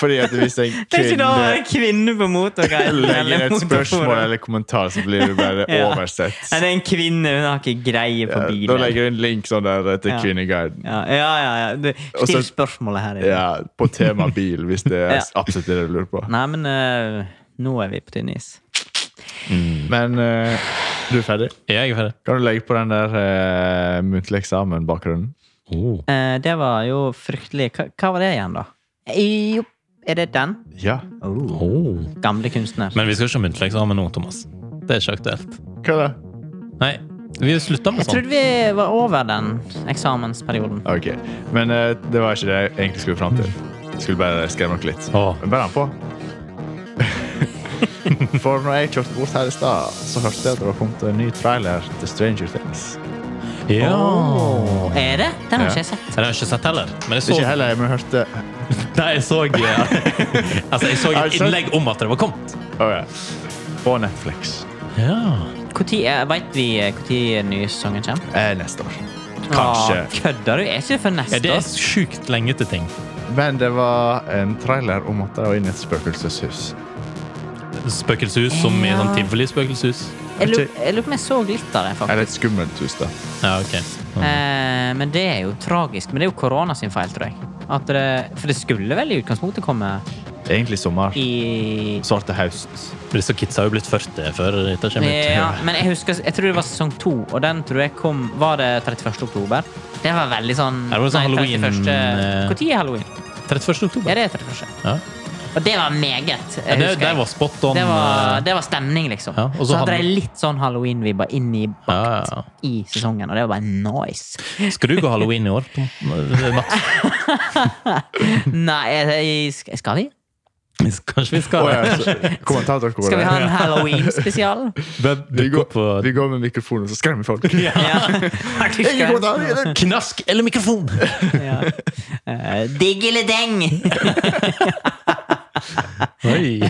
B: Fordi at hvis en
C: Det er ikke da å være
B: kvinne
C: kvinne på Motorguiden
B: legger
C: eller
B: et spørsmål
C: Motorforum.
B: eller kommentar, så blir det bare
C: Ja.
B: oversett.
C: Nei, det er en kvinne, hun har ikke greie på
B: Ja, Da
C: bilen.
B: legger du en link sånn der til
C: Ja.
B: Kvinneguiden.
C: Ja, ja, ja. ja. Du,
B: Og
C: still
B: så-
C: spørsmålet her. inne.
B: Ja, på tema bil, hvis det er
C: Ja.
B: absolutt det du lurer på.
C: Nei, men eh, nå er vi på tynn is.
B: Men eh, du er ferdig?
A: Jeg Mm. er ferdig.
B: Kan du legge på den der eh, muntlig eksamen-bakgrunnen?
A: Oh.
C: Eh, det var jo fryktelig Hva, hva var det igjen, da? Jo, er det den?
B: Ja.
C: Oh.
A: Oh.
C: Gamle kunstner.
A: Men vi skal ikke ha muntlig eksamen nå, Thomas. Det er ikke aktuelt.
B: Hva da?
A: Nei, vi slutta med
C: Jeg
A: sånn.
C: trodde vi var over den eksamensperioden.
B: Ok. Men eh, det var ikke det jeg egentlig skulle fram til. Jeg skulle bare skremme dere litt.
A: Å.
B: Men Bare han på. For når jeg kjørte bort her i stad, så hørte jeg at det var kommet en ny trailer til Stranger Things.
A: Ja.
C: Åh, er det? Den har
B: Ja.
C: ikke jeg sett.
A: Den har jeg ikke sett heller. Men jeg så,
B: Ikke heller, men jeg hørte
A: Nei, jeg så, altså, jeg så et innlegg om at det var kommet.
B: Å, ja. På Netflix.
A: Ja.
C: Veit vi når den nye sesongen kommer?
B: Eh, neste år. Kanskje.
C: Åh, kødder du? Er ikke det før
A: ja
C: neste
A: det er
C: år?
A: sjukt lenge til ting.
B: Men det var en trailer om at de var inne i et spøkelseshus.
A: Spøkelseshus som i sånn tivolispøkelseshus.
C: Jeg lurer jeg lurer på om jeg så litt av det, faktisk.
B: Eller et skummelt hus, da.
A: Ja, ok. Ja.
C: Eh, men det er jo tragisk. Men det er jo korona sin feil, tror jeg. At det, for det skulle vel i utgangspunktet komme
B: Egentlig sommer.
C: i
B: Svarte høst.
A: Disse kidsa har jo blitt 40 før dette kommer ut.
C: Ja, men jeg husker, jeg tror det var sesong to, og den tror jeg kom Var det 31. oktober? Det var veldig sånn
A: Ja, det var sånn halloween, eh.
C: Når er halloween?
A: 31. oktober.
C: Ja, det er 31.
A: Ja.
C: Og det var meget.
A: Ja,
C: jeg
A: det,
C: husker
A: det
C: jeg.
A: var spot on.
C: det, var,
A: eh,
C: det var stemning, liksom.
A: Ja, og
C: så,
A: så
C: hadde
A: hadde-
C: de litt sånn halloween-vibber inn i, bak-
A: ja, ja.
C: i sesongen, og det var bare nice.
A: Skal du gå halloween i år? Tom? Mats?
C: Nei, jeg, jeg, skal vi?
A: Kanskje vi skal
B: Oh, ja, så- kommentatorkoret.
C: Skal vi ha en halloween-spesial?
A: Bør
B: vi
A: dukke
B: går,
A: opp på
B: vi går med mikrofonen, så skremmer vi folk.
C: Ja. Har du
B: Ingen
C: skrevet?
B: kommentarer!
A: Knask eller mikrofon!
C: Ja. Eh, Digg eller deng?
A: Oi.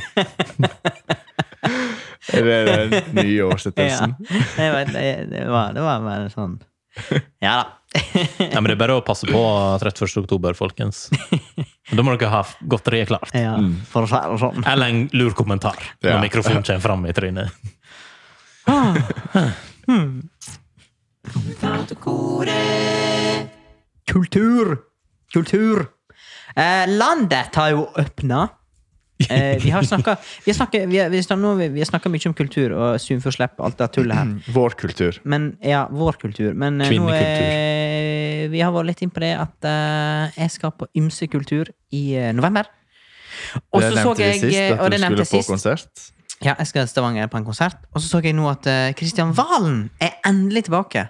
B: Er det den nye oversettelsen?
C: Ja. Jeg vet, jeg- det, var, det var bare sånn Ja da.
A: Ja, men det er bare å passe på 31. oktober, folkens. Da må dere ha godt klart.
C: Ja,
B: Mm.
C: for å si det sånn.
A: Eller en lur kommentar når
B: Ja.
A: mikrofonen kommer fram i trynet.
C: Kultur! Kultur! Eh, landet har jo åpna. Eh, vi har snakka vi har snakket- vi har- vi har snakket- nå har vi- vi har snakket mye om kultur og Sunfjordslepp og alt det tullet her.
B: Vår kultur.
C: Men, ja, vår kultur. Men eh, nå er, vi har vært litt inn på det at eh, jeg skal på ymse kultur i eh, november. Og så
B: det
C: så
B: nevnte vi
C: jeg
B: sist,
C: eh,
B: at
C: og
B: du
C: det nevnte
B: skulle på
C: jeg sist.
B: konsert.
C: Ja, jeg skal til Stavanger på en konsert. Og så så jeg nå at eh, Kristian Valen er endelig tilbake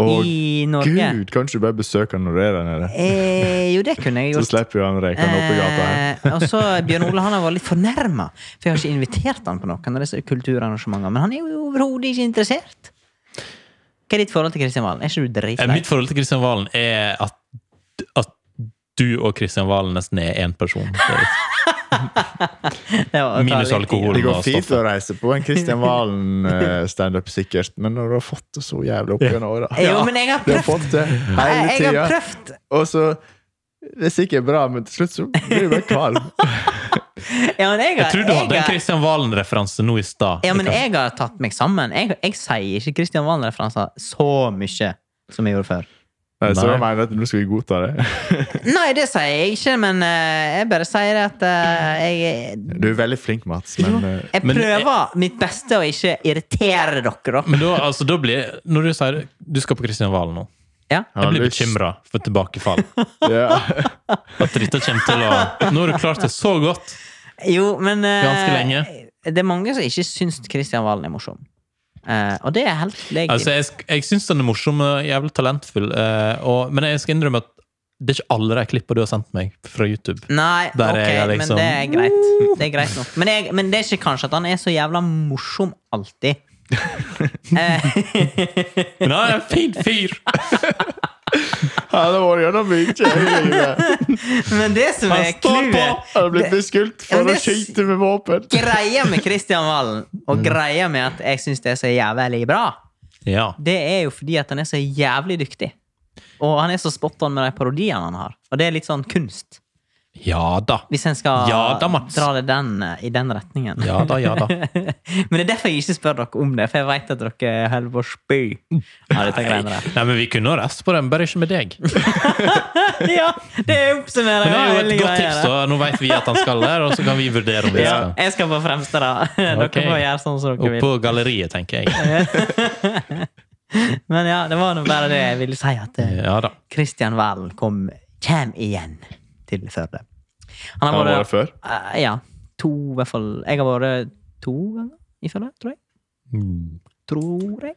B: Og
C: i Norge.
B: gud, kanskje du bare besøker han når du er der nede?
C: Eh, jo, det kunne jeg
B: Så
C: gjort.
B: slipper jo han rekene oppe i gata her.
C: Eh, og så Bjørn Ole han har vært litt fornærma, for jeg har ikke invitert han på noen av disse kulturarrangementene. Men han er jo overhodet ikke interessert. Hva er ditt forhold til Kristian Valen? Er ikke du
A: Eh,
C: dritlei?
A: Mitt forhold til Kristian Valen er at, at du og Kristian Valen nesten er én person. Det er-
C: Det var å ta
A: minus
C: litt i.
A: alkohol.
B: Det går
A: og
B: fint
A: stoffet.
B: å reise på en Kristian Valen-standup, sikkert, men når du har fått det så jævlig opp gjennom åra
C: Jo, men jeg har
B: Du har
C: prøvd.
B: fått det hele
C: Jeg, jeg har
B: tida,
C: prøvd.
B: og så Det er sikkert bra, men til slutt så blir du bare kvalm.
C: Ja, men jeg har,
A: Jeg tror du hadde en
C: har-
A: Kristian Valen-referanse nå i stad.
C: Ja, men
A: Det kan-
C: jeg har tatt meg sammen. Jeg, jeg sier ikke Kristian Valen-referanser så mye som jeg gjorde før.
B: Nei, så
A: Nei.
B: da mener jeg at nå skal vi godta det.
C: Nei, det sier jeg ikke, men eh, jeg bare sier at eh, jeg,
B: Du er veldig flink, Mats, men eh,
C: jeg
A: Men-
C: prøver mitt beste å ikke irritere dere, da.
A: Men da, altså, da blir Når du sier du skal på Kristian Valen nå,
C: Ja.
A: jeg
B: Ja,
A: blir
B: du-
A: bekymra for tilbakefall.
B: ja.
A: At dette kommer til å Nå har du klart det så godt.
C: Jo, men eh,
A: Ganske lenge.
C: Det er mange som ikke syns Kristian Valen er morsom. Eh, og det er helt legitimt.
A: Altså, jeg sk- jeg syns den er morsom og jævlig talentfull, eh, og, men jeg skal innrømme at det er ikke alle de klippene du har sendt meg fra YouTube.
C: Nei,
A: Der er
C: ok,
A: jeg liksom-
C: men det er greit. Det er greit nok. Men, jeg, men det er ikke kanskje at han er så jævla morsom alltid. Eh,
A: Men han er en fin fyr!
B: Han har vært gjennom mye. i livet.
C: Men det som
A: Han
C: er
A: står på!
C: clouet
B: Han har blitt beskuldt
C: Ja,
B: for
C: men
B: å
C: det-
B: skyte med våpen.
C: Greia med Kristian Valen, og
A: Mm.
C: greia med at jeg syns det er så jævlig bra,
A: Ja.
C: det er jo fordi at han er så jævlig dyktig. Og han er så spot on med de parodiene han har. Og det er litt sånn kunst.
A: ja da.
C: Hvis en skal
A: Ja da, Mats.
C: dra det den, eh, i den retningen.
A: Ja da, ja da.
C: Men det er derfor jeg ikke spør dere om det, for jeg vet at dere holder på å spy av dette
A: Nei,
C: greiene der.
A: nei, men vi kunne ha reist på den, bare ikke med deg.
C: Ja, det oppsummerer
A: Men det er jo
C: hele
A: et godt
C: greia
A: tips,
C: der.
A: da. Nå vet vi at han skal der, og så kan vi vurdere om vi
C: Ja,
A: skal.
C: jeg skal på fremste, da. Dere
A: Ok.
C: får gjøre sånn som dere
A: Opp
C: vil.
A: på galleriet, tenker jeg.
C: Men ja, det var nå bare det jeg ville si. At eh,
A: Ja da.
C: Kristian Valen kom kjem igjen til Førde. Han
B: Han har vært der før.
C: eh, Ja. To, i hvert fall. Jeg har vært to ganger i Førde, tror jeg.
A: Mm.
C: Tror jeg.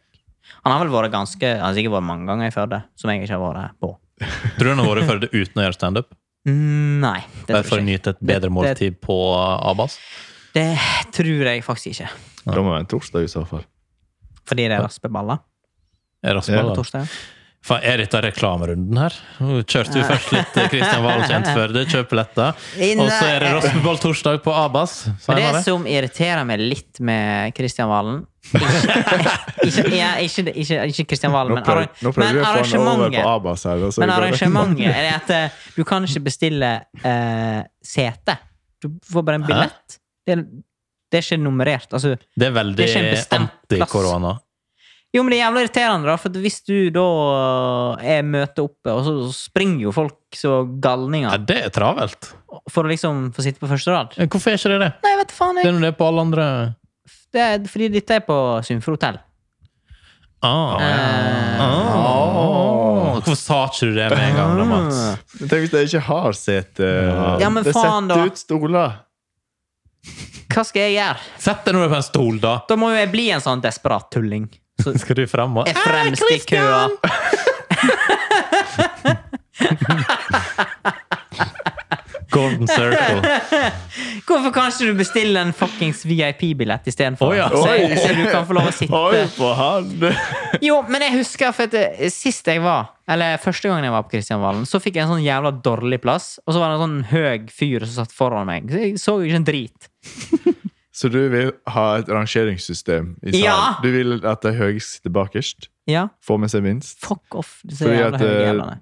C: Han har vel vært ganske Han har sikkert vært mange ganger i Førde, som jeg ikke har vært på.
A: Tror du han har vært i Førde uten å gjøre standup?
C: Mm, Nei. Det
A: Bare for
C: tror,
A: å
C: jeg. ikke.
A: nyte et bedre
C: Det-
A: måltid på Abas?
C: det tror jeg faktisk ikke.
B: Da må det være en torsdag i så fall.
C: Fordi det er raspeballer.
A: Rasmus,
C: på
A: da.
C: torsdag.
A: Faen, er dette reklamerunden her? Nå kjørte vi først litt eh, Kristian Valen kjent før det, kjøp billetter. Og så er det Rospeball torsdag på Abas.
C: Men det
A: Senere.
C: som irriterer meg litt med Kristian Valen Ikke, ja, ikke, ikke, ikke Kristian Valen,
B: Nå
C: men,
B: prøver,
C: arra-
B: nå prøver
C: men
B: vi å få han over på
C: arrangementet.
B: Abas her. og så
C: Men
B: går det-
C: arrangementet er det at eh, du kan ikke bestille eh, sete. Du får bare en
A: Hæ?
C: billett. Det, er- det er ikke nummerert. Altså,
A: Det er veldig
C: Det er ikke en bestemt
A: anti-korona.
C: jo, men det er jævla irriterende, da, for at hvis du da er møter oppe, og så springer jo folk så
A: Ja,
C: galninger
A: det er travelt.
C: for å liksom få sitte på første rad.
A: Eh, Hvorfor er ikke det det?
C: Nei, vet du faen,
A: Det er
C: jeg.
A: jo det på alle andre
C: Det er fordi dette er på Sunnfjord hotell.
A: ah,
C: Eh.
A: ah. Hvorfor sa ikke du det med en gang, da, Mats?
C: Ah.
B: Men Tenk hvis de ikke har sete.
C: Ja, men
B: det
C: faen da.
B: setter ut stoler.
C: Hva skal jeg gjøre?
A: Sett deg nå på en stol, da!
C: Da må jo jeg bli en sånn desperat tulling. Så
A: Skal du frem og
C: er fremst i køa.
A: Golden Circle?
C: Hvorfor kan ikke du bestille en fuckings VIP-billett istedenfor?
A: Å ja.
C: så,
B: Oi.
C: så du kan få lov å
B: Oi,
C: sitte.
B: på han!
C: Jo, men jeg husker for at eh, sist jeg var Eller første gangen jeg var på Kristianvalen, så fikk jeg en sånn jævla dårlig plass. Og så var det en sånn høy fyr som satt foran meg. Så jeg så jo ikke en drit.
B: Så du vil ha et rangeringssystem i salen?
C: Ja.
B: Du vil at de høyeste sitter bakerst?
C: Ja,
B: Får med seg minst?
C: fuck off, disse
B: Fordi
C: jævla
B: at, eh,
C: høye jævlene.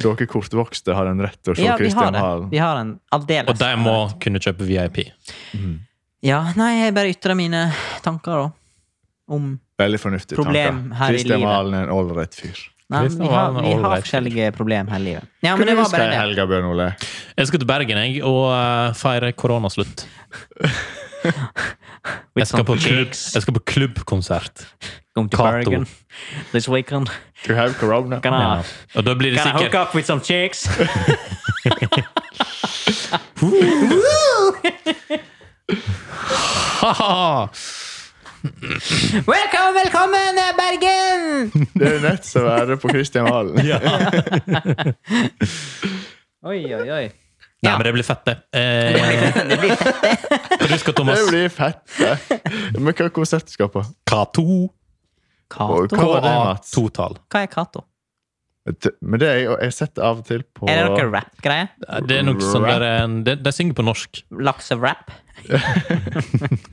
B: Dere kortvokste har en rett til å se
C: Ja, vi har
B: Christian
C: det.
B: Halen.
C: Vi har en aldeles
A: Og de må kunne kjøpe VIP.
C: Ja, nei, jeg bare ytrer mine tanker, da. Om
B: Veldig fornuftig
C: Problem her i
B: Christian
C: livet.
B: Halen er en ålreit fyr.
C: Nei, men vi
A: Kristian
C: har,
A: Valen er
C: vi har
A: ålreit.
C: forskjellige problemer her i livet. Ja,
B: Hva
C: men det
B: du
C: var
B: skal
C: bare
B: i
C: det.
B: helga, Bjørn Ole?
A: Jeg skal til Bergen jeg, og eh, feire koronaslutt. Jeg skal, på klubb, jeg skal på klubbkonsert.
C: Come to
A: Kato.
C: Bergen this weekend.
B: Du har korona.
C: Can I,
A: Ja. Og da blir det
C: can I hook
A: sikkert
C: up with some chicks?
A: Haha!
C: Velkommen, velkommen, Bergen!
B: Det er jo nødt til å være på Christian Halen.
C: Oi, oi, oi.
A: Nei,
C: Ja.
A: men det blir fett, det. Eh, for du skal,
B: Det
A: Thomas.
B: blir fett. det. Men hva konsert du skal på?
A: K2.
B: Og
C: Kato?
B: Hva var det, Mats?
A: K2-tall.
C: Hva er Kato?
B: Men det er jo Jeg setter av og til på
C: Er det noe rap-greie?
A: Det er noe sånn
B: Rap.
A: der en- De, de synger på norsk.
C: Lakse-rap? er,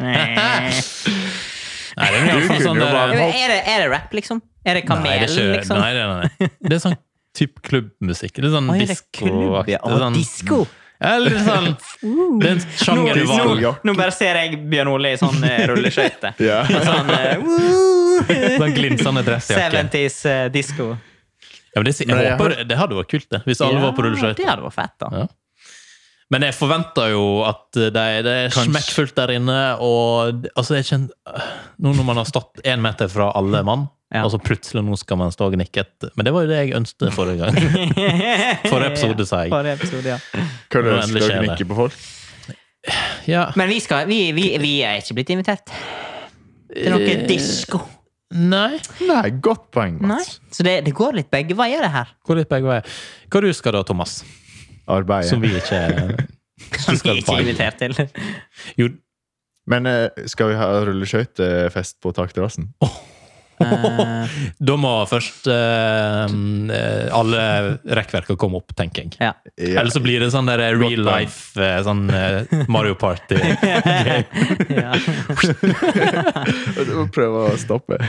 A: Nei, det er noe
B: Du
A: sånn,
B: kunne
A: sånn
B: jo
A: der,
B: bare-
C: det, er det rap, liksom?
A: nei, det
C: Er det
A: er
C: kamelen,
A: ikke,
C: liksom?
A: Nei, nei, nei. Det er sånn typ klubbmusikk. Det er sånn
C: Oi, det er klubb,
A: diskoaktig. sånn-
C: ja. Å, disko!
A: Eller sånn Det er en sjanger du
B: Nå-
A: valger.
B: nå-
C: Nå bare ser jeg Bjørn Ole i sånn eh, rulleskøyter.
B: Ja.
C: Sånn eh, woo!
A: Sånn glinsende dressjakke.
C: 70s eh, disco.
A: Ja, men det, jeg
B: Men jeg
A: håper, det hadde vært kult, det. Hvis alle var på
C: Det
A: rulleskøyter.
C: hadde vært fett, da.
A: Ja. Men jeg forventer jo at det, det er
B: Kanskje.
A: smekkfullt der inne, og altså, jeg kjenner, Nå når man har stått én meter fra alle mann,
C: Ja.
A: og så plutselig nå skal man stå og nikke etter Men det var jo det jeg ønsket forrige gang. Forrige episode, sa jeg.
C: Forrige episode, ja.
B: Kan du
A: Nå
B: ønske
A: endelig
B: dere
A: skjer det.
B: nikke på folk?
A: Ja.
C: Men vi, skal, vi, vi, vi er ikke blitt invitert til noe
A: Eh,
C: disko.
A: Nei.
B: Nei, godt poeng,
C: Nei.
B: Mats.
C: Så det, det går litt begge veier, det her.
A: Gå litt begge veier. Hva du skal da, Thomas?
B: Arbeidet.
A: Som vi ikke
C: Som vi
A: skal
C: er ikke
A: på en-
C: invitert til.
A: Jo,
B: Men eh, skal vi ha rulleskøytefest på takterrassen?
C: Eh,
A: Da må først eh, eh, alle rekkverka komme opp, tenker jeg.
C: ja.
B: Ja.
A: Eller så blir det sånn der eh, real
B: poeng.
A: life eh, sånn eh, Mario Party.
C: ja.
B: Jeg må prøve å stoppe.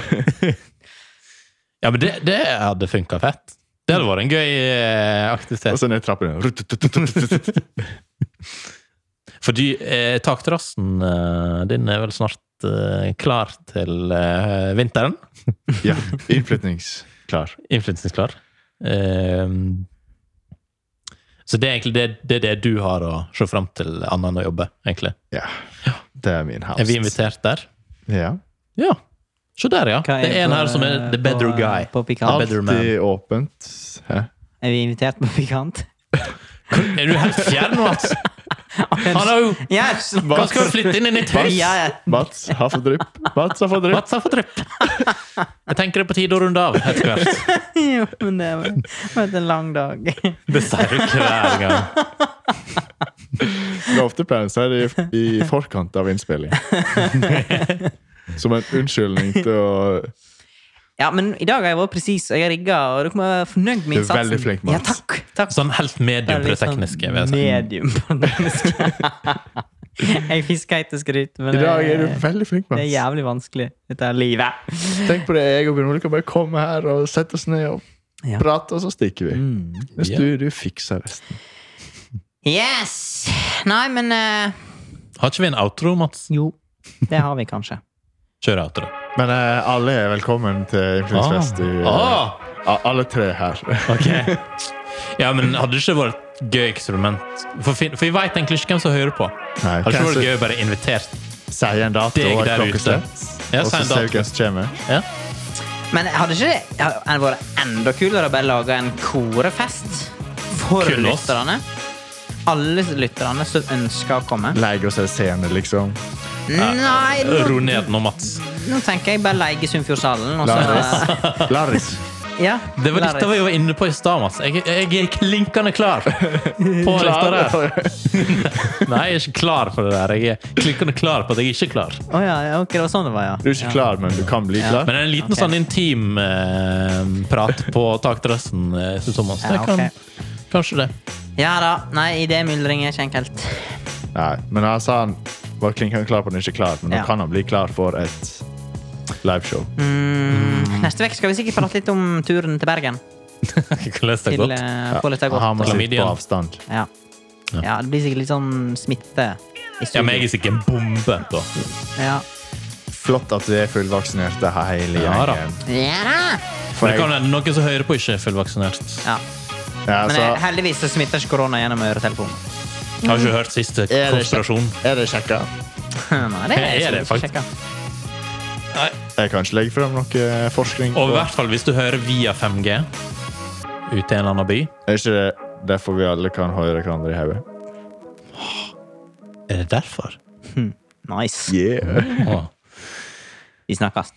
A: Ja, men det, det hadde funka fett. Det hadde vært en gøy eh,
B: Og
A: aktivitet.
B: så ned trappen.
A: Fordi eh, takterrassen eh, din er vel snart eh, klar til eh, vinteren.
B: Ja. Innflytningsklar.
A: Innflytningsklar. Eh, så det er egentlig det, det, er det du har å se fram til, annet enn å jobbe. egentlig.
B: Ja. Det er min house.
A: Er vi invitert der?
B: Ja.
A: Ja. Se der, ja.
C: Hva
A: Det er en
C: på-
A: her som er the better
C: på,
A: guy.
C: På pikant.
A: Alt. Better man.
B: Alltid åpent. Hæ?
C: Er vi invitert på pikant?
A: Er du helt fjern, Mats? Han har jo
C: Ja, jeg snakker
A: Han skal jo flytte inn i nytt hus!
C: Ja, ja.
B: Mats har fått drypp. Mats har fått drypp.
A: Mats har fått drypp. Jeg tenker det er på tide å runde av etter hvert.
C: Jo, men det var var en lang dag.
A: Det sier du hver gang.
B: Lovte pleier å si det i, i forkant av innspilling. Som en unnskyldning til å
C: Ja, men i dag har jeg vært presis, og jeg har rigga, og dere må være fornøyd med
B: Du er
C: innsatsen.
B: veldig flink, Mats.
C: Ja, takk. takk.
A: Sånn helt medium på det
C: Litt sånn
A: tekniske. vil jeg si.
C: Medium på det tekniske. jeg fisker ikke til skryt, men
B: I dag er du
C: det,
B: veldig flink,
C: det er
B: Mats.
C: jævlig vanskelig, dette er livet.
B: Tenk på det, jeg og Bjørn Ole kan bare komme her og sette oss ned og
C: Ja.
B: prate, og så stikker vi. Mens
A: Mm. Ja.
B: du, du fikser resten.
C: Yes! Nei, men eh,
A: Har ikke vi en outro, Mats?
C: Jo, det har vi kanskje.
A: Kjør outro.
B: Men eh, alle er velkommen til innflytningsfest. i, eh,
A: Ah,
B: a- Alle tre her.
A: ok. Ja, men hadde det ikke vært et gøy eksperiment? For, fin- for vi veit egentlig ikke hvem som hører på.
B: Nei,
A: Hadde det ikke
B: kanskje-
A: vært gøy å bare invitert?
B: Si en dato
A: Deg
B: og et
A: der ute.
B: klokkeslett,
A: Ja,
B: og
A: si
B: så
A: en
B: ser
A: dato.
B: vi hvem som kommer.
A: Ja.
C: Men hadde ikke det hadde det vært enda kulere å bare lage en korefest for
A: Kun oss.
C: lytterne? Alle lytterne som ønsker å komme.
B: Leie oss en scene, liksom.
C: Nei,
A: Ro
C: nå,
A: ned nå, Mats.
C: nå tenker jeg bare leie Sunnfjordsalen. og så-
B: Laris. Laris.
C: Ja,
A: Det var dette vi
C: Larris.
A: var inne på i stad, Mats. Jeg, jeg er klinkende klar på dette der. Nei, jeg er ikke klar for det der. Jeg er klinkende klar på at jeg er ikke er klar.
C: Å ja, ja, ok, det var sånn det var, ja.
B: Du er ikke klar, men du kan bli klar.
A: Men en liten
C: Ok.
A: sånn intim eh, prat på takdressen, eh, synes Thomas. Det
C: Ja, ok.
A: kan, Kanskje det.
C: Ja da. Nei, idémyldring er ikke enkelt.
B: Nei, men han sa han var klinkende klar på at han ikke er klar, men nå
C: Ja.
B: kan han bli klar for et liveshow.
C: Mm, neste vekk skal vi sikkert prate litt om turen til Bergen.
A: Hvordan det er
C: Til
A: godt.
C: eh, Pålet er
B: Han må
C: godt.
B: sitte på
A: Klamydien.
B: avstand.
C: Ja. ja, det blir sikkert litt sånn smitte i
A: Ja,
C: studio.
A: men jeg er sikkert en bombe på.
C: Ja.
B: Flott at vi er fullvaksinerte hele
A: Ja, da.
B: gjengen.
C: Ja da!
B: For
A: Men det kan
B: jeg,
A: være noen som hører på ikke er fullvaksinert.
C: Ja.
B: ja,
C: Men eh,
B: altså,
C: heldigvis så smitter ikke korona gjennom øretelefonen.
A: Har ikke hørt siste
B: det ikke-
A: konspirasjon.
B: er det sjekka?
C: Nei, det
A: Er
C: er,
A: det
C: ikke
A: faktisk?
C: sjekket.
A: Nei.
B: Jeg kan ikke legge frem noe eh, forskning.
A: Og i
B: på-
A: hvert fall hvis du hører via 5G ut i en eller annen by.
B: Er ikke det derfor vi alle kan høre hverandre i hodet?
A: Er det derfor?
C: Nice.
B: Yeah.
A: Å,
C: Vi snakkes.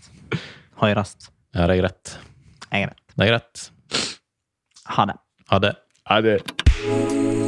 C: Høyrast.
A: ja, det er greit.
C: Jeg er rett.
A: Det er greit.
C: Ha det.
A: Ha det.
B: Er det...